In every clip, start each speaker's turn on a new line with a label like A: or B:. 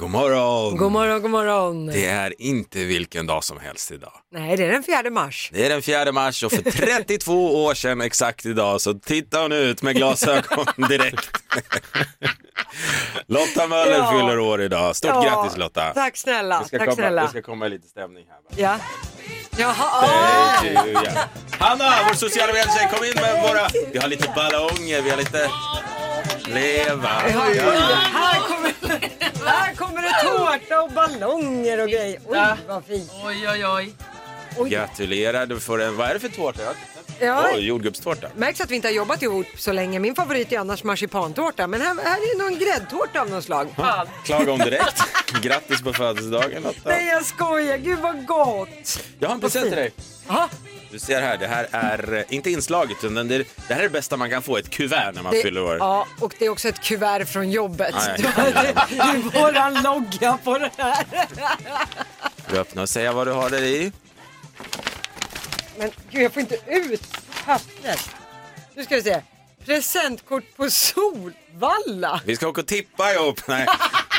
A: God morgon!
B: God morgon, god morgon.
A: Mm. Det är inte vilken dag som helst idag.
B: Nej, det är den 4 mars.
A: Det är den 4 mars och för 32 år sedan exakt idag så tittar hon ut med glasögon direkt. Lotta Möller
B: Ja.
A: fyller år idag. Stort
B: Ja,
A: grattis Lotta!
B: Tack snälla.
A: Det ska,
B: tack
A: komma,
B: snälla.
A: det ska komma lite stämning här. bara.
B: Ja. Jaha,
A: Hej, du, ja. Hanna, vår sociala medietjej, kom in med våra... Vi har lite ballonger, vi har lite... Leva!
B: oj, oj, oj. Här kommer, här kommer det tårta och ballonger och grejer. Oj, vad fint.
C: Oj, oj, oj.
A: Gratulerar, du får en... Vad är det för tårta? Jag har inte sett.
B: Ja.
A: Åh, jordgubbstårta.
B: Märks att vi inte har jobbat ihop så länge. Min favorit är annars marsipantårta, men här, här är någon gräddtårta av något slag.
C: Fan.
A: Klaga om direkt. Grattis på födelsedagen Lotta.
B: Nej, jag skojar. Gud, vad gott.
A: Jag har en present till dig.
B: Jaha,
A: Du ser här, det här är eh, inte inslaget utan det, det här är det bästa man kan få, ett kuvert när man
B: det,
A: fyller år.
B: ja, och det är också ett kuvert från jobbet.
A: Nej.
B: Du har- Det det är våran logga på det här.
A: Du öppnar och säger vad du har där i.
B: Men gud, jag får inte ut pappret. Nu ska vi se. Presentkort på Solvalla.
A: Vi ska åka och tippa ihop. Nej.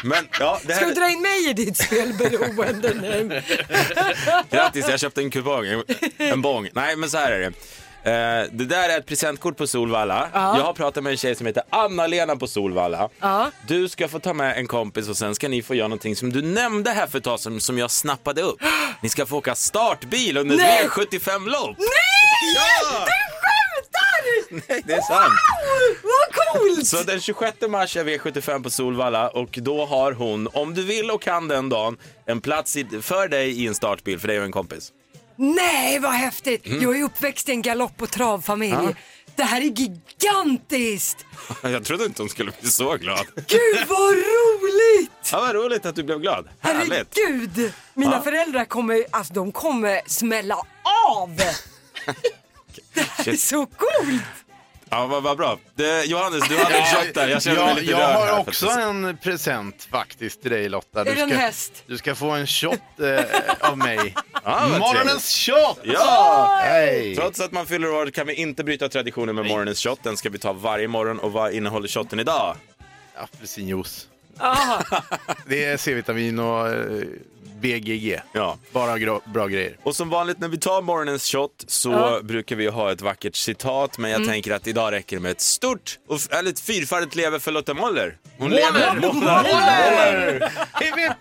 A: Men ja, det
B: Ska du
A: här,
B: dra in mig i ditt spelberoende nu?
A: grattis, jag köpte en kupong. en- En bong. Nej, men så här är det. Eh, det där är ett presentkort på Solvalla. Jag har pratat med en tjej som heter Anna-Lena på Solvalla.
B: Ja.
A: Du ska få ta med en kompis och sen ska ni få göra någonting som du nämnde här för ett tag sedan som jag snappade upp. Ni ska få åka startbil under
B: Nej!
A: ett V75-lopp.
B: Nej!
A: Ja!
B: Du skämtar!
A: Nej, det är sant.
B: Wow, vad coolt!
A: Så den 26 mars är V75 på Solvalla och då har hon, om du vill och kan den dagen, en plats i, för dig i en startbil för dig och en kompis.
B: Nej, vad häftigt!
A: Mm.
B: Jag är uppväxt i en galopp och travfamilj. Det här är gigantiskt!
A: Jag trodde inte hon skulle bli så glad.
B: Gud, vad roligt!
A: Ja, vad roligt att du blev glad. Härligt.
B: Herregud! Mina föräldrar kommer, alltså de kommer smälla av! Det här är
A: Shit.
B: så coolt!
A: Ja, vad, vad bra. Det, Johannes, du hade ett kött där. Jag känner mig
D: Jag,
A: lite
D: jag
A: rörd här
D: har
A: för
D: också
A: att-
D: en present faktiskt till dig Lotta.
B: Är det en häst?
D: Du ska få en shot eh, av mig.
A: vad trevligt.
D: Morgonens shot!
A: Ja!
D: Hej!
A: Trots att man fyller år kan vi inte bryta traditionen med morgonens shot. Den ska vi ta varje morgon. Och vad innehåller shotten idag?
D: Apelsinjuice.
B: Ah,
D: Det är C-vitamin och eh, BGG.
A: Ja.
D: Bara gro- bra grejer.
A: Och som vanligt när vi tar morgonens shot så brukar vi ha ett vackert citat men jag tänker att idag räcker det med ett stort, och f- eller ett fyrfaldigt leve för Lotta Möller. Hon lever! Måller! Måller! Hurra!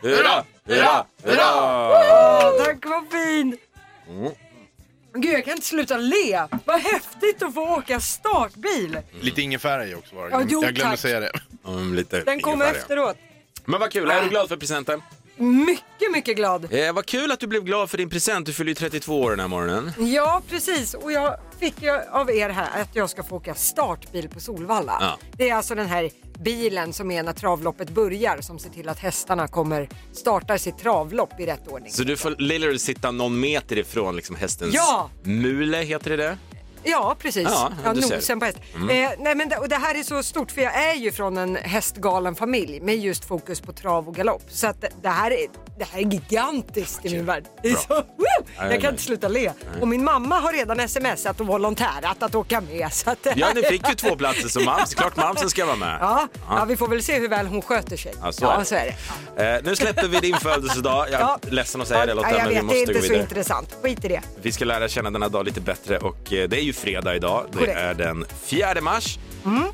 A: Hurra! Hurra! Hurra!
B: tack vad fin! Mm. Gud, jag kan inte sluta le. Vad häftigt att få åka startbil.
D: Lite ingefära i också. Var det.
B: Ja, jo,
D: jag glömde
B: tack.
D: säga det.
A: Mm, lite
B: Den kommer
A: ingefära.
B: efteråt.
A: Men vad kul, är du glad för presenten?
B: Mycket, mycket glad.
A: Ah. Eh, vad kul att du blev glad för din present, du fyller ju 32 år den här morgonen.
B: Ja, precis. Och jag fick ju av er här att jag ska få åka startbil på Solvalla.
A: Ja.
B: Det är alltså den här bilen som är när travloppet börjar som ser till att hästarna kommer, startar sitt travlopp i rätt ordning.
A: Så du får literally sitta någon meter ifrån liksom hästens
B: Ja.
A: mule, heter det det?
B: Ja, precis.
A: Ja,
B: Ja,
A: du ser. Mm.
B: nosen på häst. Eh, nej, men det, och det här är så stort för jag är ju från en hästgalen familj med just fokus på trav och galopp. Så att det- det, här är, det här är gigantiskt i min värld. Det är så, Woo! jag
A: nej.
B: kan inte sluta le. Och min mamma har redan smsat och volontärat att åka med. Så att det
A: Ja,
B: här-
A: ni fick ju två platser som mams, klart mamsen ska vara med.
B: Ja, ja, vi får väl se hur väl hon sköter sig.
A: Ja, så är det.
B: det.
A: Eh, nu släpper vi din födelsedag. Jag är
B: Ja.
A: ledsen att säga det Lotta,
B: ja, jag
A: men
B: vet,
A: vi måste
B: det är
A: gå
B: inte så
A: vidare.
B: intressant. Skit i det.
A: Vi ska lära känna denna dag lite bättre och eh, det är ju fredag idag. Det
B: Korrekt. Mm.
A: är den 4 mars.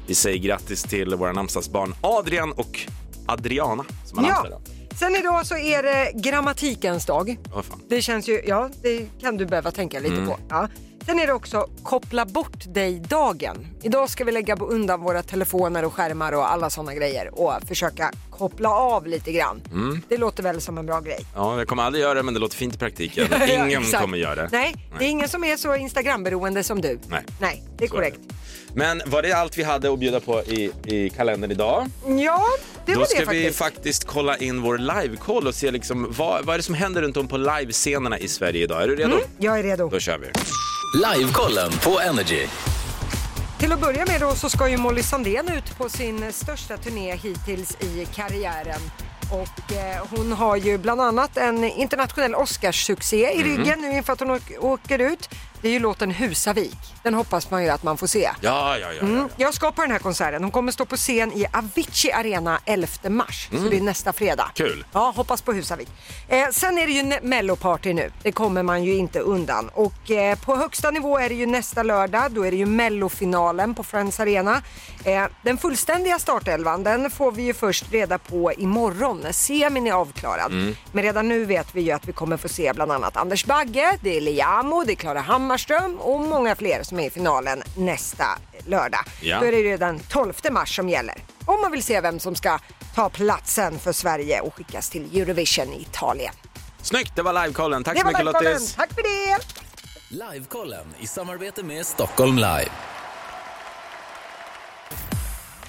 A: Vi säger grattis till våra namnsdagsbarn Adrian och Adriana som har
B: Ja.
A: namnsdag idag.
B: Sen idag så är det grammatikens dag.
A: Åh, fan.
B: Det känns ju, ja, det kan du behöva tänka
A: Mm.
B: lite på. Ja. Sen är det också koppla bort dig-dagen. Idag ska vi lägga på undan våra telefoner och skärmar och alla sådana grejer och försöka koppla av lite grann.
A: Mm.
B: Det låter väl som en bra grej.
A: Ja, jag kommer aldrig göra det men det låter fint i praktiken.
B: Ja,
A: Ingen
B: exakt.
A: kommer göra det.
B: Nej, det är ingen som är så Instagram-beroende som du.
A: Nej.
B: Nej, det är
A: Så är
B: korrekt.
A: Men var det allt vi hade att bjuda på i, i kalendern idag?
B: Ja, det
A: Då
B: var
A: ska
B: det
A: vi
B: faktiskt.
A: faktiskt kolla in vår livekoll och se liksom vad, vad är det som händer runt om på livescenerna i Sverige idag. Är du redo?
B: Jag är redo.
A: Då kör vi.
E: Livekollen på Energy.
B: Till att börja med då så ska ju Molly Sandén ut på sin största turné hittills i karriären. Och eh, hon har ju bland annat en internationell Oscarssuccé i ryggen nu inför att hon åk- åker ut. det är ju låten Husavik. Den hoppas man ju att man får se. Mm,
A: Ja, ja, ja. ja, ja.
B: Jag ska på den här konserten. Hon kommer stå på scen i Avicii Arena 11 mars, så det är nästa fredag.
A: Kul.
B: Ja, hoppas på Husavik. Eh, sen är det ju ne- Melloparty nu, det kommer man ju inte undan. Och eh, på högsta nivå är det ju nästa lördag, då är det ju Mellofinalen på Friends Arena. Eh, den fullständiga startelvan, den får vi ju först reda på imorgon när semin är avklarad.
A: Mm.
B: Men redan nu vet vi ju att vi kommer få se bland annat Anders Bagge, det är Liamo, det är Klara Hammarström och många fler som är i finalen nästa lördag.
A: Ja.
B: Då är det ju den 12 mars som gäller. Om man vill se vem som ska ta platsen för Sverige och skickas till Eurovision i Italien.
A: Snyggt, det var livekollen. Tack
B: Det
A: så
B: var
A: mycket
B: Livekollen,
A: Lottis.
B: tack för det!
E: Livekollen i samarbete med Stockholm Live.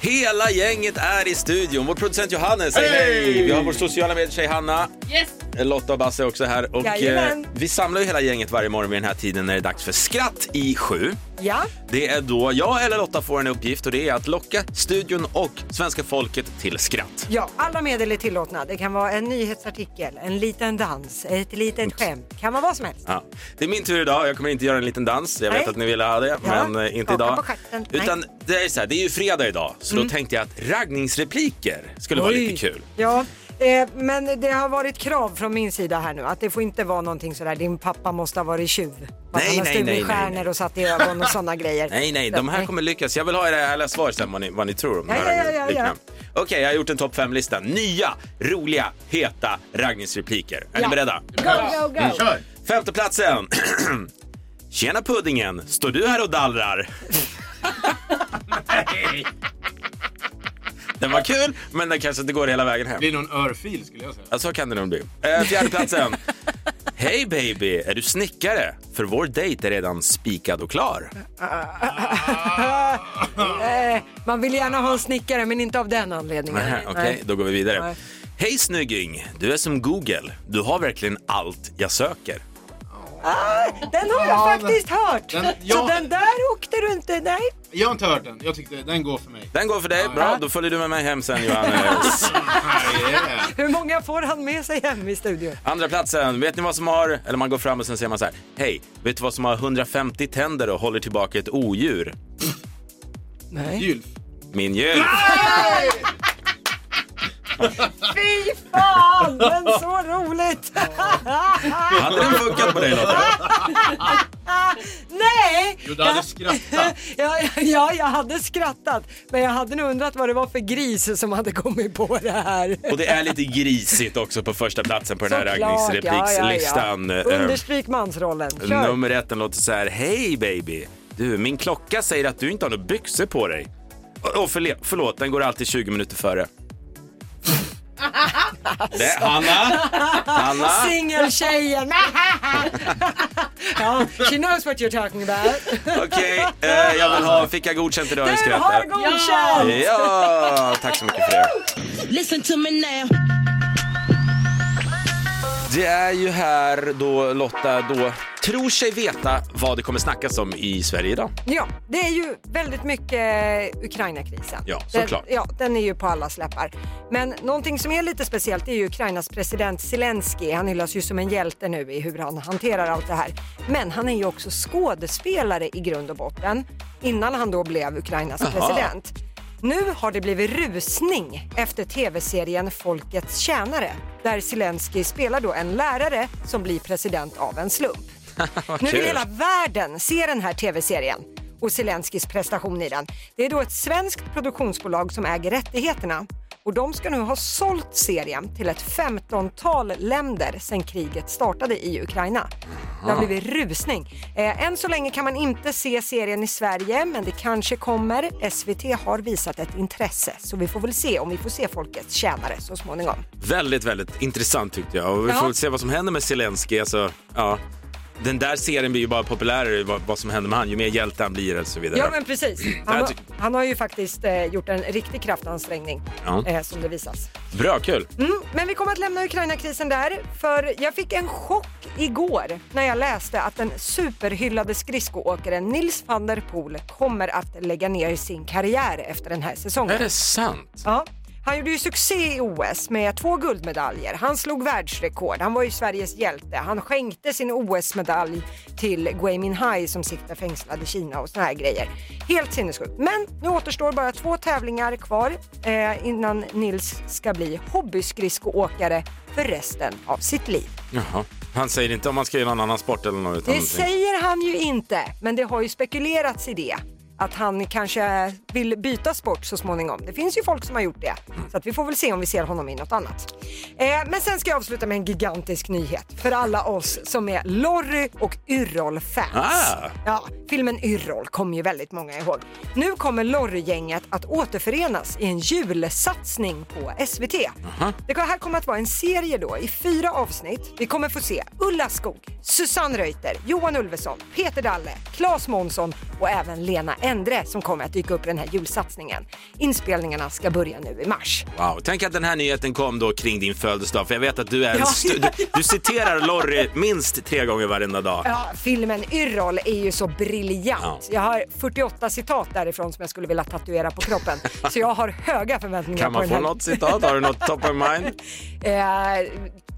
A: Hela gänget är i studion. Vår producent Johannes, hej, hej! Vi har vår sociala medietjej Hanna. Eh,
C: Yes!
A: Lotta och Basse är också här. Och, eh,
B: Jajamän.
A: vi samlar ju hela gänget varje morgon vid den här tiden när det är dags för Skratt i sju.
B: Ja,
A: Det är då jag eller Lotta får en uppgift och det är att locka studion och svenska folket till skratt.
B: ja, alla medel är tillåtna. Det kan vara en nyhetsartikel, en liten dans, ett litet skämt. Kan vara vad som helst.
A: Ja. Det är min tur idag. Jag kommer inte göra en liten dans. Jag vet
B: Nej.
A: att ni ville ha det,
B: Ja.
A: men eh, inte
B: Skaka
A: idag.
B: på stjärten. Nej. Mm.
A: Utan det är, så här, det är ju fredag idag, så då tänkte jag att raggningsrepliker skulle vara lite kul.
B: Ja, eh, men det har varit krav från min sida här nu att det får inte vara någonting sådär din pappa måste ha varit tjuv. Att
A: Nej,
B: han har
A: nej,
B: stulit
A: nej, nej,
B: stjärnor
A: nej.
B: och satt i ögon och sådana grejer.
A: Nej, nej, de här kommer lyckas. Jag vill ha era ärliga svar sen vad ni, vad ni tror om de
B: Ja,
A: här
B: ja, ja, ja,
A: replikerna. Okej, jag har gjort en topp fem lista Nya, roliga, heta raggningsrepliker. Är ni beredda?
C: Go, go, go!
D: Kör!
A: Femteplatsen. Tjena puddingen, står du här och dallrar? Den var kul, men den kanske inte går hela vägen hem.
F: Det är nog en örfil skulle jag säga.
A: Ja, så kan det nog bli. Eh, Fjärdeplatsen. Hej baby, är du snickare? För vår dejt är redan spikad och klar.
B: Eh, man vill gärna ha en snickare men inte av den anledningen.
A: Nähä, Okej,
B: Nej.
A: då går vi vidare.
B: Nej.
A: Hej snygging, du är som Google. Du har verkligen allt jag söker.
B: Ah, Den har jag
F: Ja, men-
B: faktiskt hört.
F: Den-
B: Så
F: ja.
B: den där åkte du inte. Nej.
F: Jag har inte hört den. Jag tyckte den går för mig.
A: Den går för dig. Bra, då följer du med mig hem sen Johannes.
F: Ah, yeah.
B: Hur många får han med sig hem i studion?
A: Andra platsen. Vet ni vad som har... Eller man går fram och sen säger man så här. Hej, vet du vad som har 150 tänder och håller tillbaka ett odjur?
B: Nej.
F: Gylf.
A: Min jul.
B: Fy fan, men så roligt!
A: Hade den funkat på dig Lotta?
B: Nej!
F: Jo, du hade skrattat.
B: Ja, ja, jag hade skrattat, men jag hade nog undrat vad det var för gris som hade kommit på det här.
A: Och det är lite grisigt också på första platsen på den här
B: Såklart,
A: raggningsreplikslistan.
B: ja, ja, ja. Understryk mansrollen.
A: Eh,
B: Kör.
A: Nummer ett, den låter så här. Hej baby, du min klocka säger att du inte har några byxor på dig. Åh förle- förlåt, den går alltid 20 minuter före. Det,
B: Alltså.
A: Hanna! Hanna!
B: Singeltjejen! ja, she knows what you're talking about.
A: Okej, eh, jag vill ha Fick jag godkänt idag i
B: Du har
A: skrattet?
B: godkänt!
A: Ja, tack så mycket för det.
G: Listen to me now.
A: Det är ju här då Lotta då tror sig veta vad det kommer snackas om i Sverige idag.
B: Ja, det är ju väldigt mycket Ukraina-krisen.
A: Ja, såklart.
B: Den, ja, den är ju på alla släppar. Men någonting som är lite speciellt är ju Ukrainas president Zelensky. Han hyllas ju som en hjälte nu i hur han hanterar allt det här. Men han är ju också skådespelare i grund och botten innan han då blev Ukrainas president. Nu har det blivit rusning efter tv-serien Folkets tjänare där Zelensky spelar då en lärare som blir president av en slump. Nu vill
A: kul.
B: hela världen se den här tv-serien och Zelenskis prestation i den. Det är då ett svenskt produktionsbolag som äger rättigheterna och de ska nu ha sålt serien till ett femtontal länder sedan kriget startade i Ukraina. Det har blivit rusning. Eh, än så länge kan man inte se serien i Sverige, men det kanske kommer. SVT har visat ett intresse, så vi får väl se om vi får se Folkets tjänare så småningom.
A: Väldigt, väldigt intressant tyckte jag. Och vi
B: Ja.
A: får väl se vad som händer med Zelensky. Alltså, ja. Den där serien blir ju bara populärare, vad, vad som händer med han. Ju mer hjälte han blir och så vidare.
B: Ja, men precis. Han,
A: Jag
B: har-
A: tyck-
B: han har ju faktiskt eh, gjort en riktig kraftansträngning,
A: Ja.
B: eh, som det visas.
A: Bra, kul.
B: Mm, men vi kommer att lämna Ukraina-krisen där, för jag fick en chock igår när jag läste att den superhyllade skridskoåkaren Nils van der Poel kommer att lägga ner sin karriär efter den här säsongen.
A: Är det sant?
B: Ja. Han gjorde ju succé i OS med två guldmedaljer. Han slog världsrekord. Han var ju Sveriges hjälte. Han skänkte sin OS-medalj till Gui Minhai som sitter fängslad i Kina och såna här grejer. Helt sinnessjukt. Men nu återstår bara två tävlingar kvar eh, innan Nils ska bli hobbyskridskoåkare för resten av sitt liv.
A: Jaha. Han säger inte om man ska göra någon annan sport eller något. utan
B: Det
A: någonting.
B: säger han ju inte, men det har ju spekulerats i det. Att han kanske vill byta sport så småningom. Det finns ju folk som har gjort det. Så att vi får väl se om vi ser honom i något annat. Eh, men sen ska jag avsluta med en gigantisk nyhet för alla oss som är Lorry och Yrrol-fans.
A: Ah.
B: Ja, filmen Yrrol kommer ju väldigt många ihåg. Nu kommer Lorry-gänget att återförenas i en julsatsning på SVT. Det här kommer att vara en serie då i fyra avsnitt. Vi kommer få se Ulla Skog, Susanne Reuter, Johan Ulveson, Peter Dalle, Claes Månsson och även Lena Endre som kommer att dyka upp i den här julsatsningen. Inspelningarna ska börja nu i mars.
A: Wow, tänk att den här nyheten kom då kring din födelsedag för jag vet att du är en
B: Ja,
A: stu-
B: ja,
A: Du, du citerar Lorry minst tre gånger varenda dag.
B: Ja, filmen Yrrol är ju så briljant. Jag har 48 citat därifrån som jag skulle vilja tatuera på kroppen. Så jag har höga förväntningar
A: Kan
B: på
A: man
B: den
A: få
B: här.
A: något citat? Har du något top of mind?
B: Eh,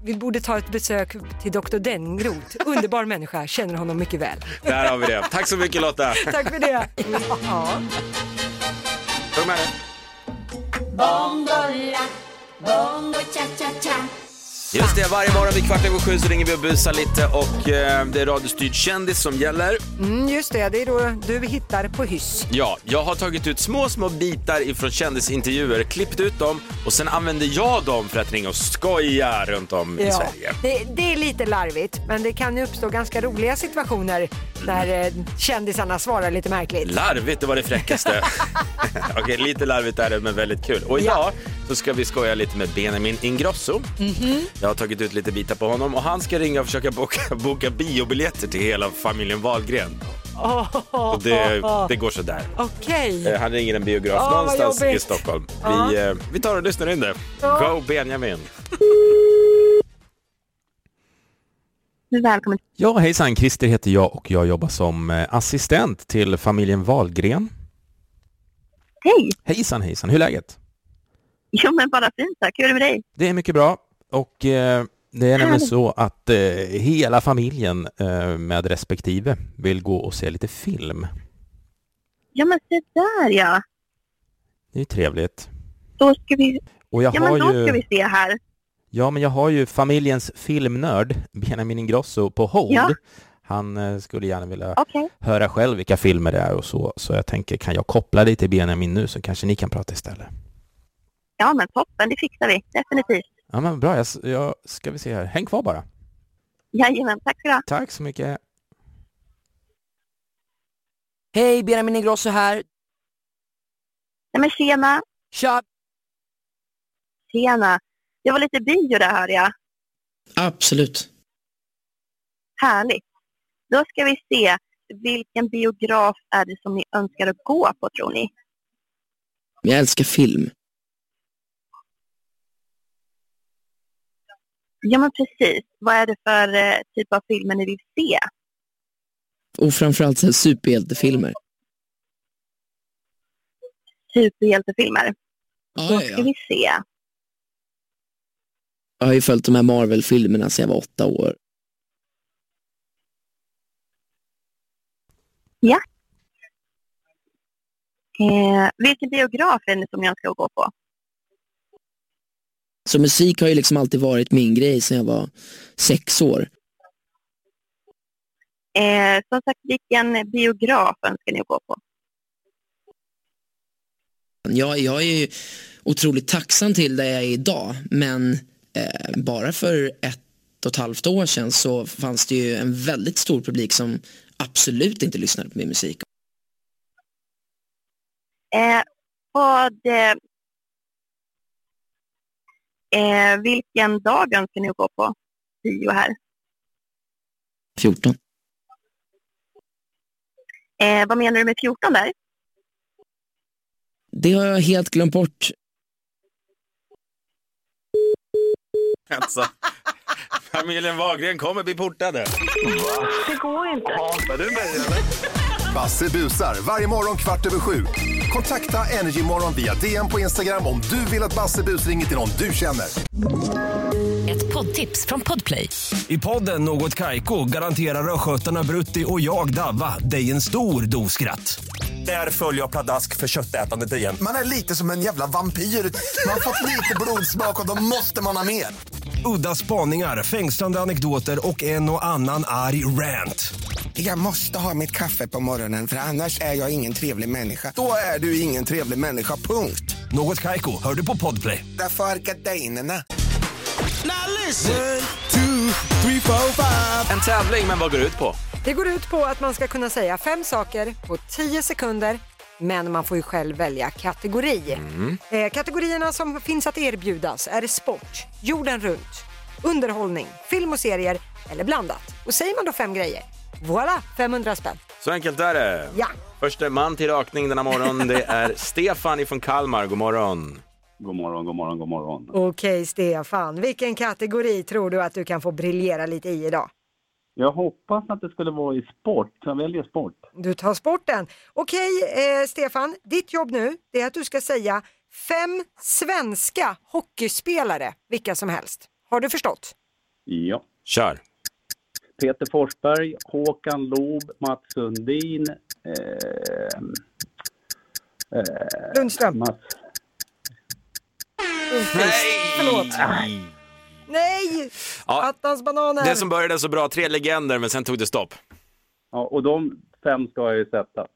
B: vi borde ta ett besök till Dr. Dengroth. Underbar människa, känner honom mycket väl.
A: Där har vi det. Tack så mycket Lotta.
B: Tack för det. Ja.
A: Kom med dig.
C: Bongola, bongo cha cha cha.
A: Just det, varje morgon vid kvart över sju så ringer vi och busar lite och eh, det är radiostyrd kändis som gäller.
B: Mm, just det, det är då du hittar på hyss.
A: Ja, jag har tagit ut små, små bitar ifrån kändisintervjuer, klippt ut dem och sen använder jag dem för att ringa och skoja runt om i Sverige.
B: Det, det är lite larvigt, men det kan ju uppstå ganska roliga situationer när eh, kändisarna svarar lite märkligt.
A: Larvigt, det var det fräckaste. Okej, lite larvigt är det, men väldigt kul. Och idag så ska vi skoja lite med Benjamin Ingrosso.
B: Mhm.
A: Jag har tagit ut lite bitar på honom och han ska ringa och försöka boka, boka biobiljetter till hela familjen Wahlgren. Och det, det går sådär.
B: Okej.
A: Eh, Han ringer en biograf
B: Ah, vad
A: någonstans i
B: jobbigt. Ah.
A: Stockholm.
B: Ja.
A: Vi, eh, vi tar och lyssnar in det. Go Benjamin!
H: Välkommen.
A: Ja, hejsan. Christer heter jag och jag jobbar som eh, assistent till familjen Wahlgren.
H: Hej!
A: Hejsan, hejsan. Hur är läget?
H: Jo men bara fint tack. Hur är det med dig?
A: Det är mycket bra och eh, det är nämligen så att eh, hela familjen eh, med respektive vill gå och se lite film.
H: Ja men se där ja.
A: Det är ju trevligt.
H: Då ska vi...
A: Och jag
H: Ja
A: har
H: men då
A: ju...
H: ska vi se här.
A: Ja, men jag har ju familjens filmnörd Benjamin Ingrosso på hold.
H: Ja.
A: Han eh, skulle gärna vilja
H: Okej.
A: höra själv vilka filmer det är och så. Så jag tänker, kan jag koppla dig till Benjamin nu så kanske ni kan prata istället?
H: Ja men toppen, det fixar vi. Definitivt.
A: Ja, men bra. Jag, s- jag ska vi se här. Häng kvar bara.
H: Jajamän, tack ska du ha.
A: Tack så mycket.
I: Hej, Benjamin Ingrosso här.
H: Nej men tjena.
I: Tja!
H: Tjena. Det var lite bio där hör jag.
G: Absolut.
H: Härligt. Då ska vi se. Vilken biograf är det som ni önskar att gå på tror ni?
G: Jag älskar film.
H: Ja men precis. Vad är det för eh, typ av filmer ni vill se?
G: Och framförallt så här superhjältefilmer.
H: Superhjältefilmer.
G: Ja,
H: Då
G: ja,
H: ska
G: ja.
H: vi se.
G: Jag har ju följt de här Marvel-filmerna sedan jag var åtta år.
H: Eh, vilken biograf är det som ni önskar att gå på?
G: Så musik har ju liksom alltid varit min grej sedan jag var sex år.
H: Eh, som sagt, vilken biograf önskar ni gå på?
G: Jag, jag är ju otroligt tacksam till där jag är idag, men eh, bara för ett och ett halvt år sedan så fanns det ju en väldigt stor publik som absolut inte lyssnade på min musik.
H: Eh, vad, eh, eh, vilken dag önskar ni gå på bio här?
G: 14.
H: Eh, vad menar du med 14 där?
G: Det har jag helt glömt bort.
A: Alltså, familjen Wahlgren kommer bli portade.
H: Det går inte.
J: Basse busar varje morgon kvart över sju. Kontakta Energymorgon via DM på Instagram om du vill att Basse busringer till någon du känner.
K: Ett poddtips från Podplay.
L: I podden Något Kaiko garanterar östgötarna Brutti och jag, Davva, dig en stor dos skratt. Där följer jag pladask för köttätandet igen.
M: Man är lite som en jävla vampyr. Man har fått lite blodsmak och då måste man ha mer.
L: Udda spaningar, fängslande anekdoter och en och annan arg rant.
N: Jag måste ha mitt kaffe på morgonen för annars är jag ingen trevlig människa.
M: Då är du ingen trevlig människa, punkt.
L: Något Kaiko, hör du på podplay.
N: Därför är gardinerna.
A: En tävling, men vad går det ut på?
B: Det går ut på att man ska kunna säga fem saker på tio sekunder men man får ju själv välja kategori. Eh, kategorierna som finns att erbjudas är sport, jorden runt, underhållning, film och serier eller blandat. Och säger man då fem grejer, voilà 500 spänn.
A: Så enkelt är det.
B: Ja.
A: Första man till rakning denna morgon, det är Stefan ifrån Kalmar. God morgon.
O: God morgon, god morgon, god morgon.
B: Okej Stefan, vilken kategori tror du att du kan få briljera lite i idag?
O: Jag hoppas att det skulle vara i sport. Jag väljer sport.
B: Du tar sporten. Okej eh, Stefan, ditt jobb nu det är att du ska säga fem svenska hockeyspelare, vilka som helst. Har du förstått?
O: Ja.
A: Kör.
O: Peter Forsberg, Håkan Loob, Mats Sundin. ehm, eh,
B: Lundström.
O: Mats.
B: Förlåt. Nej!
A: Ja.
B: Attans bananer.
A: Det som började så bra, tre legender, men sen tog det stopp.
O: Ja, och de fem ska jag ju sätta.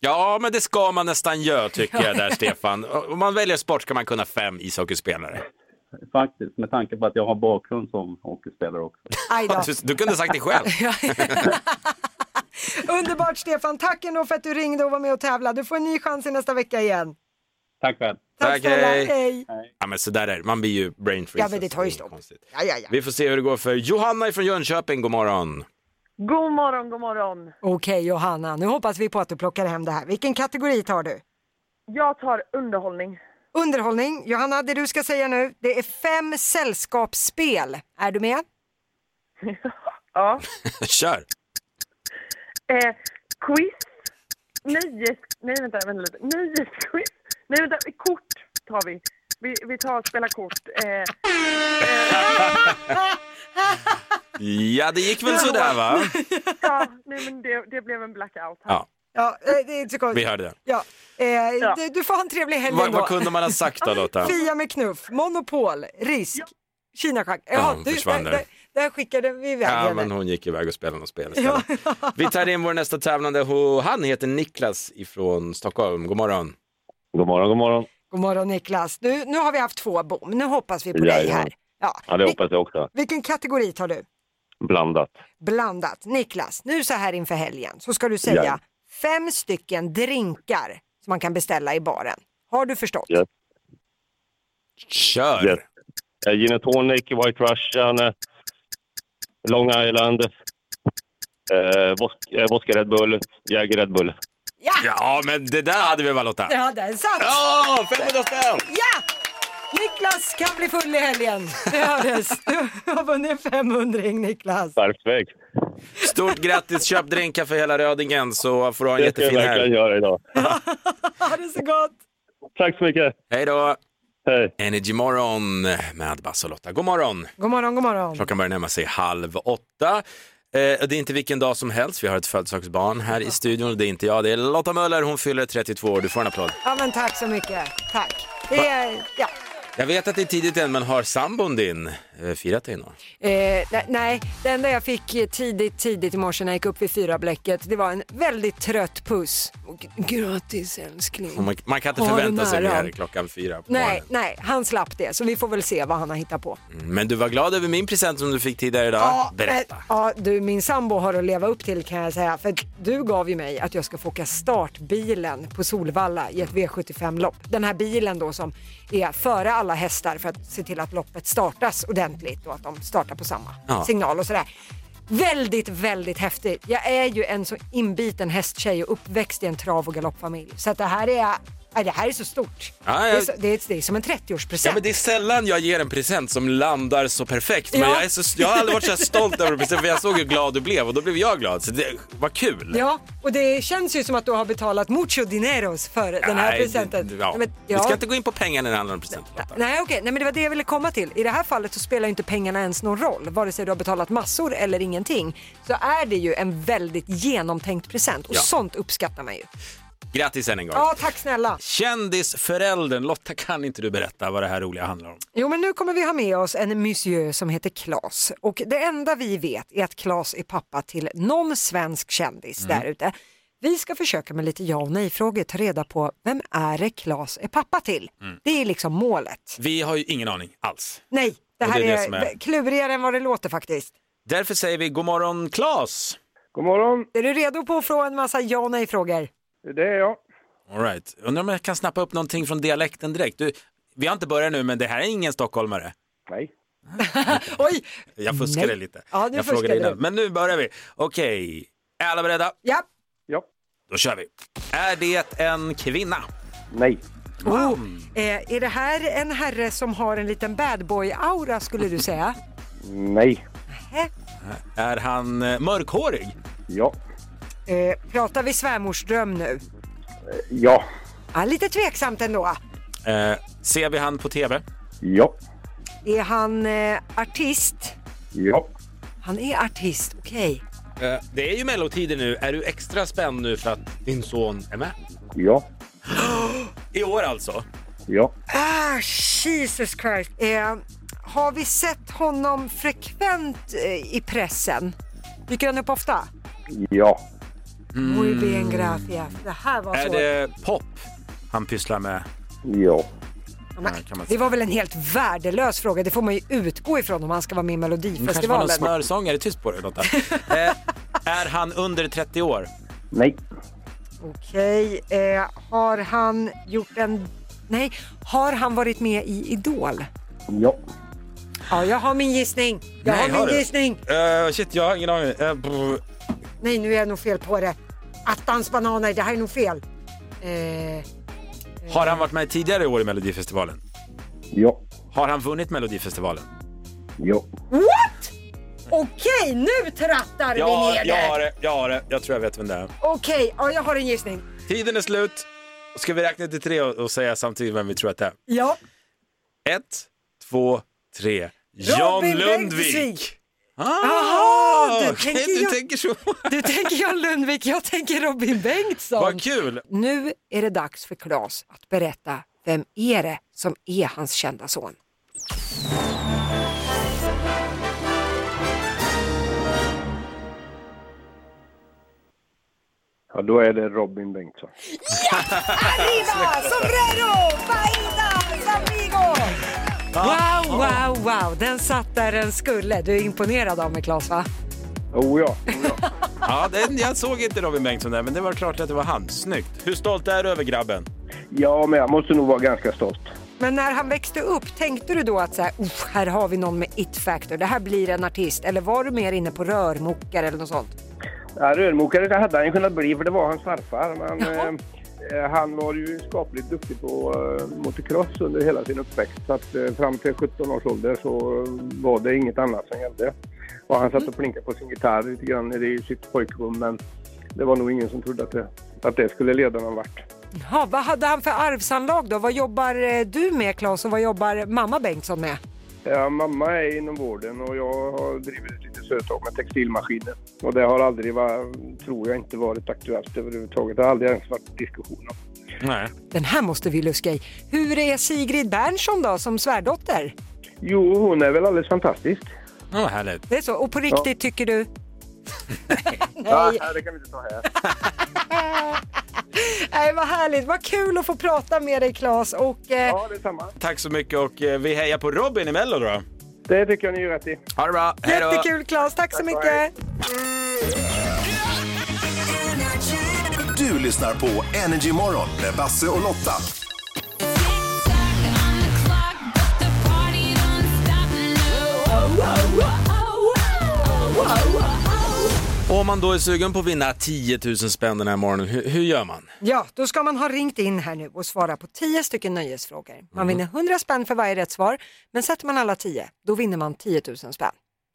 A: Ja, men det ska man nästan göra tycker jag där Stefan. Om man väljer sport ska man kunna fem ishockeyspelare.
O: Faktiskt, med tanke på att jag har bakgrund som hockeyspelare också.
B: Aj då.
A: Du, du kunde sagt det själv.
B: Underbart Stefan, tack ändå för att du ringde och var med och tävlade. Du får en ny chans i nästa vecka igen.
O: Tack själv.
B: Tack,
A: Tack,
B: snälla,
A: hej.
B: hej.
A: Ja, men så där är det. Man blir ju brain freeze.
B: Ja, men det tar ju
A: är
B: stopp.
A: konstigt.
B: Ja, ja, ja.
A: Vi får se hur det går för Johanna från Jönköping. God morgon.
P: God morgon, god morgon.
B: Okej Johanna, nu hoppas vi på att du plockar hem det här. Vilken kategori tar du?
P: Jag tar underhållning.
B: Underhållning. Johanna, det du ska säga nu, det är fem sällskapsspel. Är du med?
P: Ja.
A: Kör.
P: Eh, quiz. Nöjes... Nej, vänta, vänta lite. Nöjesquiz. Nej, vänta. Kort tar vi. Vi, vi tar och spelar kort. Eh,
A: Ja, det gick väl sådär va?
P: ja, nej, men det, det blev en blackout. här.
A: Ja,
B: Ja, eh, det är inte så konstigt.
A: vi hörde det.
B: Ja. Eh, Du, du får ha en trevlig helg
A: Vad,
B: ändå.
A: vad kunde man ha sagt då Lotta?
B: Fia med knuff, Monopol, Risk, Kinaschack.
A: Ja, hon försvann
B: där,
A: där.
B: där, där skickade vi iväg
A: Ja, men
B: henne.
A: hon gick iväg och spelade något spel istället. Vi tar in vår nästa tävlande. Ho- Han heter Niklas ifrån Stockholm. God morgon.
Q: God morgon, god morgon.
B: God morgon Niklas. Du, nu har vi haft två bom, nu hoppas vi på dig
Q: Jajamän.
B: här. Ja.
Q: Ja, det
B: Vil-
Q: hoppas jag också.
B: Vilken kategori tar du?
Q: Blandat.
B: Blandat. Niklas, nu så här inför helgen så ska du säga
Q: Ja.
B: fem stycken drinkar som man kan beställa i baren. Har du förstått?
Q: Yes.
A: Kör!
Q: Yes. Eh, Gin and tonic, White Russian, eh, Long Island, eh, vos- eh, Vodka Red Bull, Jäger Red Bull.
B: Ja!
A: ja, men det där hade vi väl Lotta?
B: Ja, där satt!
A: Ja, 500 spänn!
B: Ja! Niklas kan bli full i helgen. Det hördes. Du har vunnit 500 Niklas.
Q: Perfekt.
A: Stort grattis, köp drinkar för hela Rödingen så får du ha en
Q: Det ska jag
A: jättefin
Q: verkligen
A: helg.
Q: göra idag.
B: Ha det så gott!
Q: Tack så mycket.
A: Hej då!
Q: Hej.
A: Energy Morgon med Basse och Lotta. God morgon!
B: God morgon, god morgon.
A: Klockan börjar närma sig halv åtta. Eh, det är inte vilken dag som helst, vi har ett födelsedagsbarn här i studion. Det är inte jag, det är Lotta Möller, hon fyller 32 år. Du får en applåd.
B: Ja, men tack så mycket. Tack. Det är, ja.
A: Jag vet att det är tidigt än, men har sambon din eh, firat dig någon?
B: eh, nej, nej, det enda jag fick eh, tidigt, tidigt i morse när jag gick upp vid fyra bläcket, det var en väldigt trött puss. Och g- Grattis älskling.
A: Man, man kan inte
B: Har du
A: förvänta sig
B: nära?
A: mer klockan fyra på
B: Nej,
A: morgonen.
B: nej, han slapp det, så vi får väl se vad han har hittat på.
A: Mm, Men du var glad över min present som du fick tidigare idag. Berätta.
B: men- Ja, eh, du, min sambo har att leva upp till kan jag säga. För du gav ju mig att jag ska få åka startbilen på Solvalla i ett V75-lopp. Den här bilen då som är före alla hästar för att se till att loppet startas ordentligt och att de startar på samma
R: Ja.
B: signal och sådär. Väldigt, väldigt häftigt. Jag är ju en så inbiten hästtjej och uppväxt i en trav och galoppfamilj. Så att det här är Nej, det här är så stort.
A: Ja,
B: Det, är
A: jag-
B: så, det, är, det är som en 30-årspresent.
A: Ja, men det är sällan jag ger en present som landar så perfekt. Men
B: Ja.
A: jag, är så, jag har aldrig varit så här stolt över en present för jag såg hur glad du blev och då blev jag glad. Så det var kul.
B: Ja, och det känns ju som att du har betalat mucho dineros för den här
A: Nej,
B: presenten.
A: det- Ja.
B: Nej, men-
A: Vi ska inte gå in på pengar när det handlar om presenter. Lotta.
B: Nej okej, Nej, men det var det jag ville komma till. I det här fallet så spelar ju inte pengarna ens någon roll. Vare sig du har betalat massor eller ingenting så är det ju en väldigt genomtänkt present och
A: Ja.
B: sånt uppskattar man ju.
A: Grattis än en gång.
B: Ja, tack snälla.
A: Kändisföräldern, Lotta kan inte du berätta vad det här roliga handlar om?
B: Jo, men nu kommer vi ha med oss en monsieur som heter Klas. Och det enda vi vet är att Klas är pappa till någon svensk kändis
R: Mm.
B: där ute. Vi ska försöka med lite ja och nej-frågor ta reda på vem är det Klas är pappa till?
A: Mm.
B: Det är liksom målet.
A: Vi har ju ingen aning alls.
B: Nej, det
A: Och
B: här
A: det är det
B: är,
A: som är-
B: klurigare än vad det låter faktiskt.
A: Därför säger vi god morgon Klas!
S: God morgon!
B: Är du redo på att få en massa ja och nej-frågor?
S: Det är jag.
A: All right. Undrar om jag kan snappa upp någonting från dialekten direkt. Du, vi har inte börjat nu men det här är ingen stockholmare.
S: Nej.
B: Oj!
A: Jag fuskade
B: Nej.
A: lite.
B: Ja, nu
A: jag frågade
B: fuskade
A: innan.
B: du.
A: Men nu börjar vi. Okej, är alla beredda?
B: Ja.
S: Ja.
A: Då kör vi. Är det en kvinna?
S: Nej.
B: Wow. Eh, är det här en herre som har en liten bad boy-aura skulle du säga?
S: Nej.
B: Hä?
A: Är han eh, mörkhårig?
S: Ja.
B: Eh, pratar vi svärmorsdröm nu?
S: Ja.
B: Ja, lite tveksamt ändå.
A: Eh, ser vi han på TV?
S: Ja.
B: Är han eh, artist?
S: Ja.
B: Han är artist, okej.
A: Eh, det är ju mellotider nu. Är du extra spänd nu för att din son är med?
S: Ja.
A: I år alltså?
S: Ja.
B: Ah, Jesus Christ. Eh, har vi sett honom frekvent eh, i pressen? Dyker han upp ofta? Mm.
S: Ja.
B: Muy bien, gracias. Det här var
A: Är
B: svårt.
A: det pop han pysslar med?
S: Ja.
A: kan man
B: Det var väl en helt värdelös fråga. Det får man ju utgå ifrån om han ska vara med i
A: Det kanske var någon
B: Melodifestivalen.
A: smörsångare. Tyst på dig Lotta. eh, är han under 30 år?
S: Nej.
B: Okej, eh, har han gjort en... Nej, har han varit med i Idol?
S: Ja.
B: Ja, jag har min gissning. Jag
A: Nej,
B: har min
A: du?
B: gissning.
A: Eh, shit, jag har ingen aning. Eh, brr.
B: Nej, nu är jag nog fel på det. Attans bananer, det här är nog fel. Eh,
A: har han varit med tidigare i år i Melodifestivalen?
S: Ja.
A: Har han vunnit Melodifestivalen?
S: Ja.
B: what? Okej, nu trattar vi ner
A: jag
B: det.
A: har det. Jag har det. Jag tror jag vet vem det är.
B: Okej, ja, jag har en gissning.
A: Tiden är slut. Ska vi räkna till tre och, och säga samtidigt vem vi tror att det är?
B: Ja.
A: Ett, två, tre. John
B: Robin
A: Lundvik!
B: Bengtzvik.
A: Ah,
B: Jaha, du
A: okej,
B: tänker
A: du
B: jag-
A: tänker så.
B: Du tänker John Lundvik, jag tänker Robin Bengtsson.
A: Vad kul!
B: Nu är det dags för Claes att berätta vem är det som är hans kända son.
S: Ja, då är det Robin Bengtsson.
B: Arriba, sombrero, fajitas, amigos! Wow, wow, wow, den satt där den skulle. Du är imponerad av mig Claes va?
S: Oh ja.
A: Ja, den, jag såg inte Robin Bengtsson där, men det var klart att det var han. Snyggt! Hur stolt är du över grabben?
S: Ja, men jag måste nog vara ganska stolt.
B: Men när han växte upp, tänkte du då att så här, "Uff, här har vi någon med it-factor, det här blir en artist. Eller var du mer inne på rörmokare eller något sånt?
S: Ja, rörmokare det hade han ju kunnat bli, för det var hans farfar. Men, eh, han var ju skapligt duktig på eh, motocross under hela sin uppväxt. Så att, eh, fram till 17 års ålder så eh, var det inget annat som gällde. Och han satt och plinkade på sin gitarr lite grann nere i sitt pojkrum, men det var nog ingen som trodde att det, att det skulle leda någon vart.
B: Ja, vad hade han för arvsanlag då? Vad jobbar eh, du med Claes och vad jobbar mamma Bengtsson med?
S: Ja, mamma är inom vården och jag har drivit ett litet företag med textilmaskiner. Och det har aldrig, va- tror jag, inte varit aktuellt överhuvudtaget. Det har aldrig ens varit diskussion om.
A: Nej.
B: Den här måste vi luska i. Hur är Sigrid Bernson då som svärdotter?
S: Jo, hon är väl alldeles fantastisk.
A: Ja, vad härligt.
B: Det är så, och på
S: Ja.
B: riktigt tycker du?
S: Ja, det kan vi inte ta här.
B: Nej, vad härligt, vad kul att få prata med dig Claes och... Eh...
S: Ja, detsamma.
A: Tack så mycket och eh, vi hejar på Robin i Mello då.
S: Det tycker jag ni gör rätt i.
A: Ha det bra, hej då!
B: Jättekul Claes, tack så mycket!
J: Du lyssnar på Energy Morgon med Basse och Lotta.
A: Om man då är sugen på att vinna 10 000 spänn den här morgonen, hur, hur gör man?
B: Ja, då ska man ha ringt in här nu och svara på 10 stycken nöjesfrågor. Man vinner 100 spänn för varje rätt svar, men sätter man alla 10, då vinner man 10 000 spänn.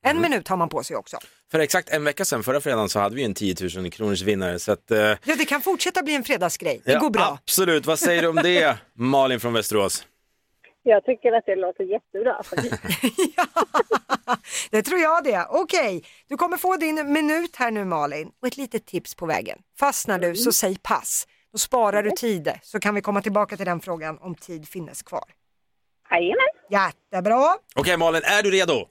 B: En minut har man på sig också.
A: För exakt en vecka sedan, förra fredagen, så hade vi en 10 000 kronors vinnare. Så att, eh,
B: Ja, det kan fortsätta bli en fredagsgrej. Det
A: ja,
B: går bra.
A: Absolut, vad säger du om det? Malin från Västerås.
R: Jag tycker att det låter jättebra.
B: Det tror jag det. Okej, du kommer få din minut här nu Malin och ett litet tips på vägen. Fastnar du så säg pass. Då sparar du tid så kan vi komma tillbaka till den frågan om tid finnes kvar.
R: Jajamän.
B: Jättebra.
A: Okej Malin, är du redo?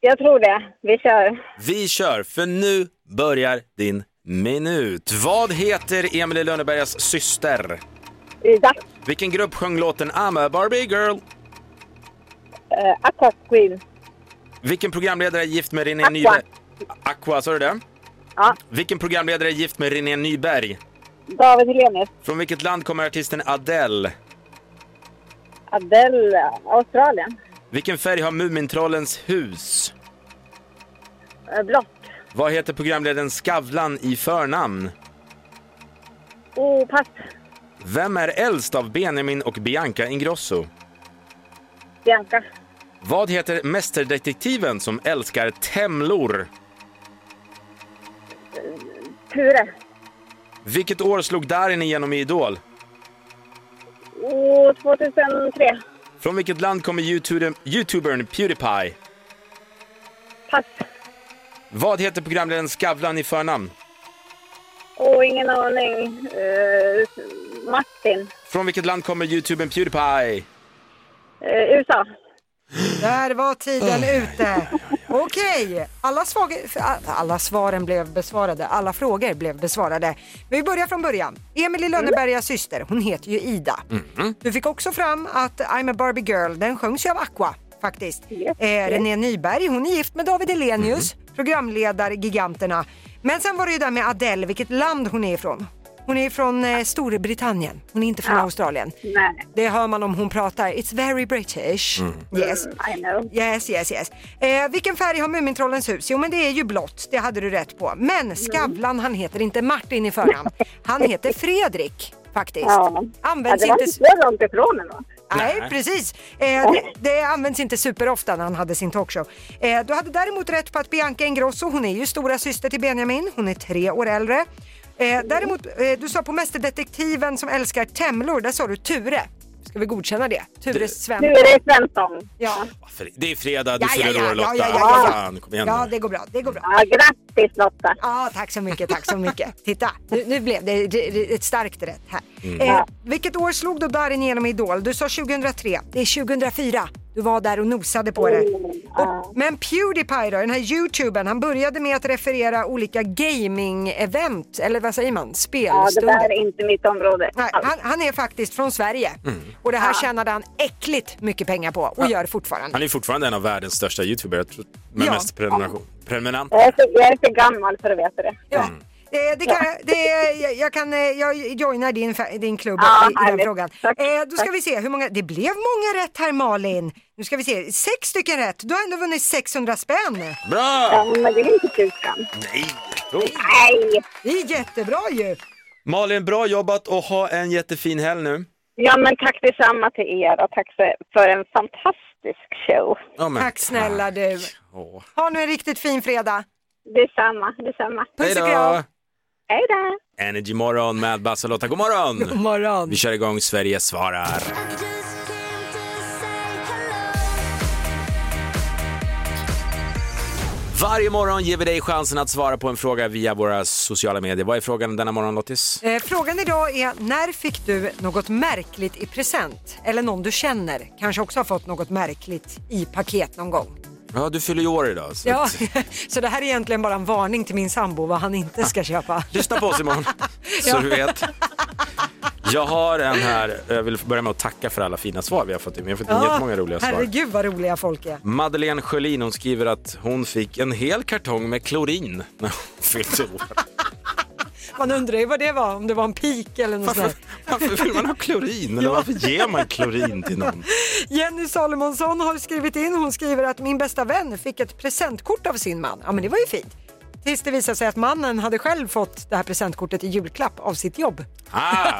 R: Jag tror det. Vi kör.
A: Vi kör, för nu börjar din minut. Vad heter Emily Lönnebergas syster?
R: Ida.
A: Vilken grupp sjöng låten I'm a Barbie girl?
R: Uh, Aqua Queen.
A: Vilken programledare är gift med René
R: Aqua.
A: Nyberg? Aqua, sa du det?
R: Ja.
A: Vilken programledare är gift med René Nyberg?
R: David Helenius.
A: Från vilket land kommer artisten Adele?
R: Adele. Australien.
A: Vilken färg har Mumintrollens hus?
R: Uh, Blått.
A: Vad heter programledaren Skavlan i förnamn?
R: Oh, pass.
A: Vem är äldst av Benjamin och Bianca Ingrosso?
R: Bianca.
A: Vad heter mästerdetektiven som älskar temlor?
R: Ture.
A: Vilket år slog Darin igenom i Idol?
R: Oh, 2003.
A: Från vilket land kommer YouTube, youtubern Pewdiepie?
R: Pass.
A: Vad heter programledaren Skavlan i förnamn?
R: Oh, ingen aning. Eh, Martin.
A: Från vilket land kommer youtubern Pewdiepie?
R: Eh, USA.
B: Där var tiden ute. Okej, alla, svaga, alla svaren blev besvarade, alla frågor blev besvarade. Men vi börjar från början. Emily Lönnebergas syster, hon heter ju Ida. Du fick också fram att I'm a Barbie girl, den sjöngs ju av Aqua faktiskt. Eh, René Nyberg, hon är gift med David Elenius, programledargiganterna. Men sen var det ju där med Adele, vilket land hon är ifrån. Hon är från eh, Storbritannien, hon är inte från Australien.
R: Nej.
B: Det hör man om hon pratar. It's very British. Yes.
R: I know.
B: Yes, yes, yes. Eh, vilken färg har Mumintrollens hus? Jo, men det är ju blått. Det hade du rätt på. Men Skavlan, han heter inte Martin i förnamn. Han heter Fredrik, faktiskt.
R: Ja.
B: Används
R: ja, det var
B: inte...
R: inte
B: su-
R: så långt ifrån ändå.
B: Nej, precis. Eh, det, det används inte superofta när han hade sin talkshow. Eh, du hade däremot rätt på att Bianca Ingrosso, hon är ju stora syster till Benjamin. Hon är tre år äldre. Eh, däremot, eh, du sa på Mästerdetektiven som älskar temlor, där sa du Ture. Ska vi godkänna det? Ture Svensson.
R: Ture Svensson.
B: Ja.
A: Det är fredag, du
B: Ja, ja,
A: fyller
B: ja,
A: år Lotta.
B: ja, ja, ja, ja.
A: Fan, kom igen
B: Ja,
A: nu.
B: det går bra. Det går bra.
R: Ja, grattis Lotta.
B: Ja, tack så mycket, tack så mycket. Titta, nu, nu blev det det- det- ett starkt rätt här.
R: Mm.
B: Eh,
R: Ja.
B: vilket år slog då Darin igenom i Idol? Du sa 2003, det är 2004. Du var där och nosade på det.
R: Mm.
B: Och, men Pewdiepie då, den här youtubern, han började med att referera olika gaming-event, eller vad säger man,
R: Ja, det
B: spelstunder.
R: där är inte mitt område.
B: Nej, han, han är faktiskt från Sverige
R: Mm.
B: och det här tjänade han äckligt mycket pengar på och gör fortfarande.
A: Han är fortfarande en av världens största youtubers, jag tror, med
B: Ja.
A: mest prenumeration. Prenumerant.
R: Jag är, för, jag är för gammal för att veta det.
B: Ja.
A: Mm.
B: Eh, Det kan, jag- det, jag- jag, kan, eh, jag joinar din, fa- din klubb
R: Ja,
B: i, i den
R: härligt.
B: frågan. Eh, då ska vi se hur många, det blev många rätt här Malin. Nu ska vi se, sex stycken rätt. Du har ändå vunnit 600 spänn.
A: Bra!
R: men det är inte tusan.
A: Nej! Jo.
R: Nej!
B: Det är jättebra ju.
A: Malin, bra jobbat och ha en jättefin helg nu.
R: Ja, men tack detsamma till er och tack för- för en fantastisk show.
A: Ja, men
B: Tack snälla du.
A: Åh.
B: Ha nu en riktigt fin fredag.
R: Detsamma, detsamma.
A: Hej då!
R: Hej då!
A: Energy morgon med Basse och Lotta. God morgon!
B: God morgon!
A: Vi kör igång Sverige svarar. Varje morgon ger vi dig chansen att svara på en fråga via våra sociala medier. Vad är frågan denna morgon Lottis?
B: Eh, frågan idag är, när fick du något märkligt i present? Eller någon du känner kanske också har fått något märkligt i paket någon gång.
A: Ja, du fyller ju år idag. Så
B: Ja,
A: att-
B: så det här är egentligen bara en varning till min sambo vad han inte ska köpa.
A: Lyssna på oss imorgon, så
B: Ja.
A: du vet. Jag har en här, jag vill börja med att tacka för alla fina svar vi har fått in. Vi har fått in jättemånga roliga svar.
B: Herregud vad roliga folk är.
A: Madeleine Sjölin hon skriver att hon fick en hel kartong med klorin när hon fyllde år.
B: Man undrar ju vad det var, om det var en pik eller något sånt där.
A: Varför vill man ha klorin? Eller varför ger man klorin till någon?
B: Jenny Salomonsson har skrivit in, hon skriver att min bästa vän fick ett presentkort av sin man. Ja men det var ju fint. Tills det visade sig att mannen hade själv fått det här presentkortet i julklapp av sitt jobb.
A: Ah,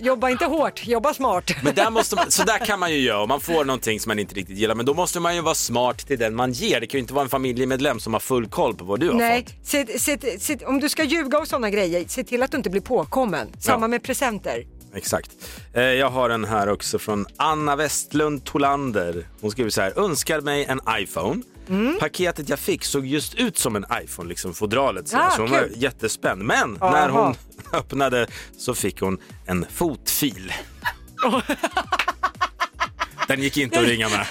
B: jobba inte hårt, jobba smart.
A: men där måste man, så där kan man ju göra om man får någonting som man inte riktigt gillar. Men då måste man ju vara smart till den man ger. Det kan ju inte vara en familjemedlem som har full koll på vad du har
B: Nej, se, se, se, om du ska ljuga och sådana grejer, se till att du inte blir påkommen. Samma
A: Ja.
B: med presenter.
A: Exakt. Eh, Jag har en här också från Anna Westlund Tolander. Hon skriver så här. Önskar mig en iPhone.
L: Mm.
A: Paketet jag fick såg just ut som en iPhone, liksom fodralet. Så,
L: Ah,
A: så hon
L: kul.
A: var jättespänd. Men
L: Aha.
A: när hon öppnade så fick hon en fotfil. Den gick inte att ringa med.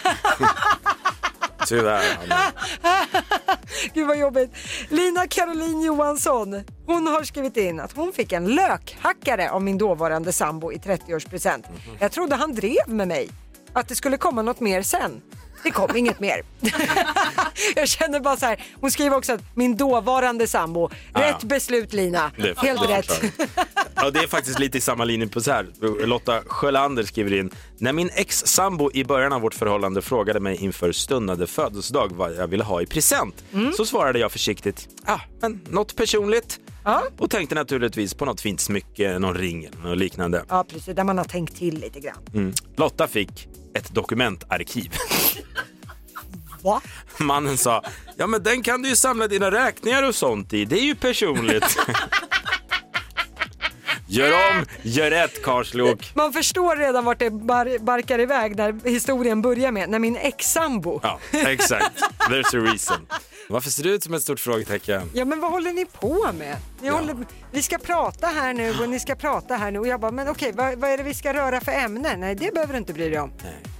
A: Tyvärr. Anna.
B: Gud vad jobbigt. Lina Caroline Johansson, hon har skrivit in att hon fick en lökhackare av min dåvarande sambo i 30-årspresent.
A: Mhm.
B: Jag trodde han drev med mig, att det skulle komma något mer sen. Det kom inget mer. Jag känner bara så här, hon skriver också att min dåvarande sambo,
A: Ah.
B: rätt beslut Lina,
A: Det är
B: helt
A: faktiskt
B: rätt.
A: Ja, det är faktiskt lite i samma linje på så här. Lotta Sjölander skriver in. När min ex-sambo i början av vårt förhållande frågade mig inför stundande födelsedag vad jag ville ha i present
B: Mm.
A: så svarade jag försiktigt ah, men något personligt och tänkte naturligtvis på något fint smycke, någon ring eller något liknande.
B: Ja precis, där man har tänkt till lite grann.
A: Mm. Lotta fick ett dokumentarkiv.
B: Va?
A: Mannen sa, ja men den kan du ju samla dina räkningar och sånt i, det är ju personligt. gör om, gör rätt karlslok.
B: Man förstår redan vart det bar- barkar iväg när historien börjar med, när min ex-sambo.
A: Ja, exakt. There's a reason. Varför ser du ut som ett stort frågetecken?
B: Ja men vad håller ni på med? Ni håller, vi ska prata här nu och ni ska prata här nu och jag bara men okej vad, vad är det vi ska röra för ämnen? Nej det behöver du inte bry dig om.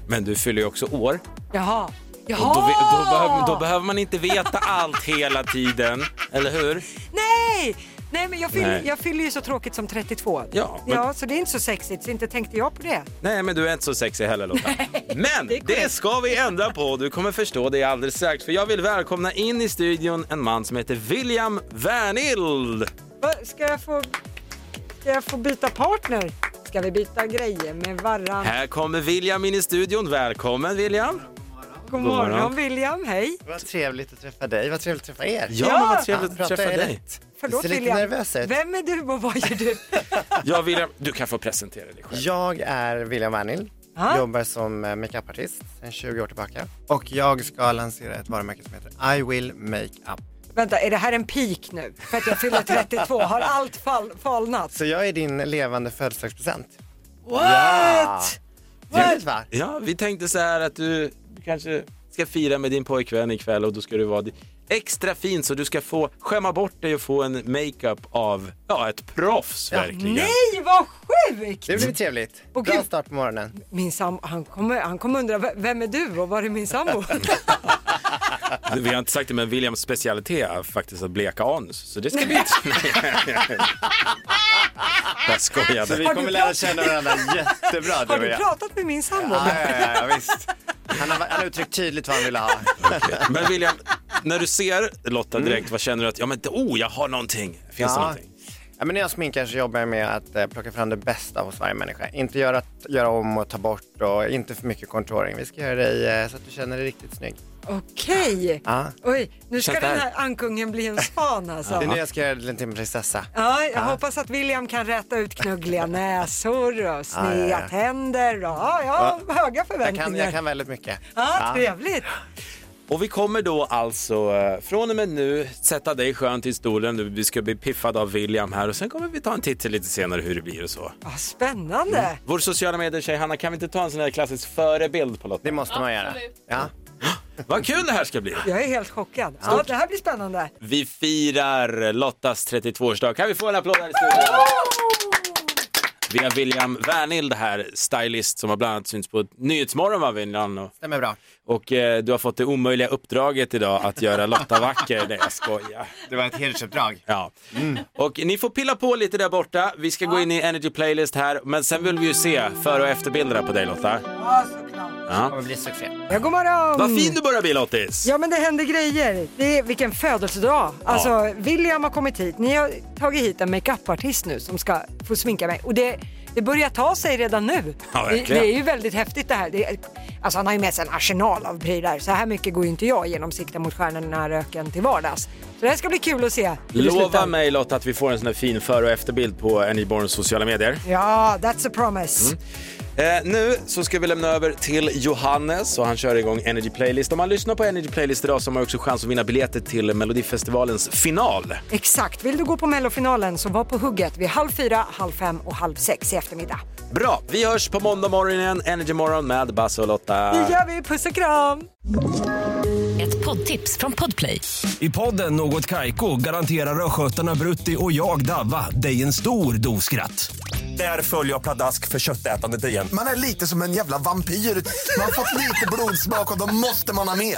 A: Men du fyller ju också år.
B: Jaha.
A: Och då,
B: Jaha!
A: ve- då, behöver, då behöver man inte veta allt hela tiden, eller hur?
B: Nej! Nej men jag fyller,
A: Nej.
B: jag fyller ju så tråkigt som 32.
A: Ja, men-
B: ja, så det är inte så sexigt så inte tänkte jag på det.
A: Nej, men du är inte så sexig heller Lotta. Men det ska vi ändra på. Du kommer förstå det alldeles strax. För jag vill välkomna in i studion en man som heter William Wernild.
B: Va, ska, jag få, ska jag få byta partner? Ska vi byta grejer med varann?
A: Här kommer William in i studion. Välkommen William.
B: God
A: God morgon.
B: morgon William, hej!
T: Vad trevligt att träffa dig, vad trevligt att träffa er.
A: Ja, Ja. vad trevligt att
T: Pratar
A: träffa
T: jag
A: dig.
T: rätt?
B: Förlåt
T: du ser lite
B: William,
T: nervös ut.
B: vem är du och vad gör du?
A: Ja, William, du kan få presentera dig själv.
T: Jag är William Wernhild,
B: Ah.
T: jobbar som eh, makeupartist sedan 20 år tillbaka. Och jag ska lansera ett varumärke som heter I will make up.
B: Vänta, är det här en peak nu? För att jag fyller 32, har allt fall, falnat?
T: Så jag är din levande födelsedagspresent.
B: What?
T: Ja. Trevligt va?
A: Ja, vi tänkte så här att du kanske ska fira med din pojkvän ikväll och då ska du vara extra fin så du ska få skämma bort dig och få en makeup av ja, ett proffs verkligen.
B: Nej, vad sjukt!
T: Det blir trevligt.
B: Och
T: Bra
B: gud.
T: start på morgonen.
B: Min sambo, han kommer, han kommer undra, "V- vem är du och var är min sambo?
A: Vi har inte sagt det, men Williams specialitet är faktiskt att bleka anus. Så det ska bli... Jag skojade.
T: Så vi Har du kommer lära pratat- känna varandra jättebra, du
B: Har
T: och
B: du
T: jag.
B: pratat med min sambo?
T: Ja, ja, ja, visst. Han har, han har uttryckt tydligt vad han ville ha.
A: Men William, när du ser Lotta direkt, vad känner du att, ja men oh, jag har någonting. Finns det någonting?
T: Ja, men när jag sminkar så jobbar jag med att eh, plocka fram det bästa hos varje människa. Inte göra, göra om och ta bort och inte för mycket kontoring. Vi ska göra dig eh, så att du känner dig riktigt snygg.
B: Okej,
T: Ja.
B: oj, nu ska
T: Känns det
B: den
T: här?
B: här ankungen bli en span alltså.
T: Det är nu jag ska göra dig till en prinsessa.
B: Ja, jag
T: Ja.
B: hoppas att William kan rätta ut knuggliga näsor och sneda
T: Ja, ja, ja.
B: tänder. och- Ja, jag har höga
T: Jag
B: förväntningar.
T: kan, jag kan väldigt mycket.
B: Ja, trevligt.
A: Och vi kommer då alltså eh, från och med nu sätta dig skönt i stolen. Vi ska bli piffade av William här och sen kommer vi ta en titt till lite senare hur det blir och så.
B: Vad spännande.
T: Mm.
A: Vår sociala medier-tjej Hanna, kan vi inte ta en sån här klassisk förebild på Lotta? Det
T: måste man göra. Ja.
A: Vad kul det här ska bli.
B: Jag är helt chockad. Ja, det här blir spännande.
A: Vi firar Lottas 32-årsdag. Kan vi få en applåd här i studion? Vi har William Wernild här, stylist som har bland annat synts på Nyhetsmorgon va William? Och,
T: Stämmer bra.
A: och eh, du har fått det omöjliga uppdraget idag att göra Lotta vacker. Nej jag skojar.
T: Det var ett hedersuppdrag.
A: Ja. Och ni får pilla på lite där borta. Vi ska gå in i Energy Playlist här men sen vill vi ju se före och efterbilderna på dig Lotta.
B: Ja, såklart.
A: Ja.
T: kommer bli succé.
B: Ja, god morgon.
A: Vad fin du börjar bli Lottis!
B: Mm. Ja men det händer grejer. Det är, vilken födelsedag. Alltså William har kommit hit. Ni har tagit hit en makeupartist nu som ska få sminka mig. Och det, det börjar ta sig redan nu.
A: Ja,
B: det,
A: verkligen.
B: det är ju väldigt häftigt det här. Det, är- alltså han har ju med sig en arsenal av prylar. Så här mycket går ju inte jag genom sikta mot stjärnorna röken till vardags. Så det här ska bli kul att se. hur det slutar.
A: Lova mig Lotta att vi får en sån här fin före och efterbild på Anyborns sociala medier.
B: Ja, that's a promise.
A: Eh, nu så ska vi lämna över till Johannes och han kör igång Energy Playlist. Om man lyssnar på Energy Playlist idag så har man också chans att vinna biljetter till Melodifestivalens final.
B: Exakt, vill du gå på mellofinalen så var på hugget vid halv fyra, halv fem och halv sex i eftermiddag.
A: Bra, vi hörs på måndag morgon igen, Energy Morgon med Basse och Lotta.
B: Det gör vi, puss och kram!
K: Ett poddtips från Podplay.
L: I podden Något Kaiko garanterar östgötarna Brutti och jag, Davva, dig en stor dos skratt. Där följer jag pladask för köttätandet igen.
M: Man är lite som en jävla vampyr. Man har fått lite blodsmak och då måste man ha mer.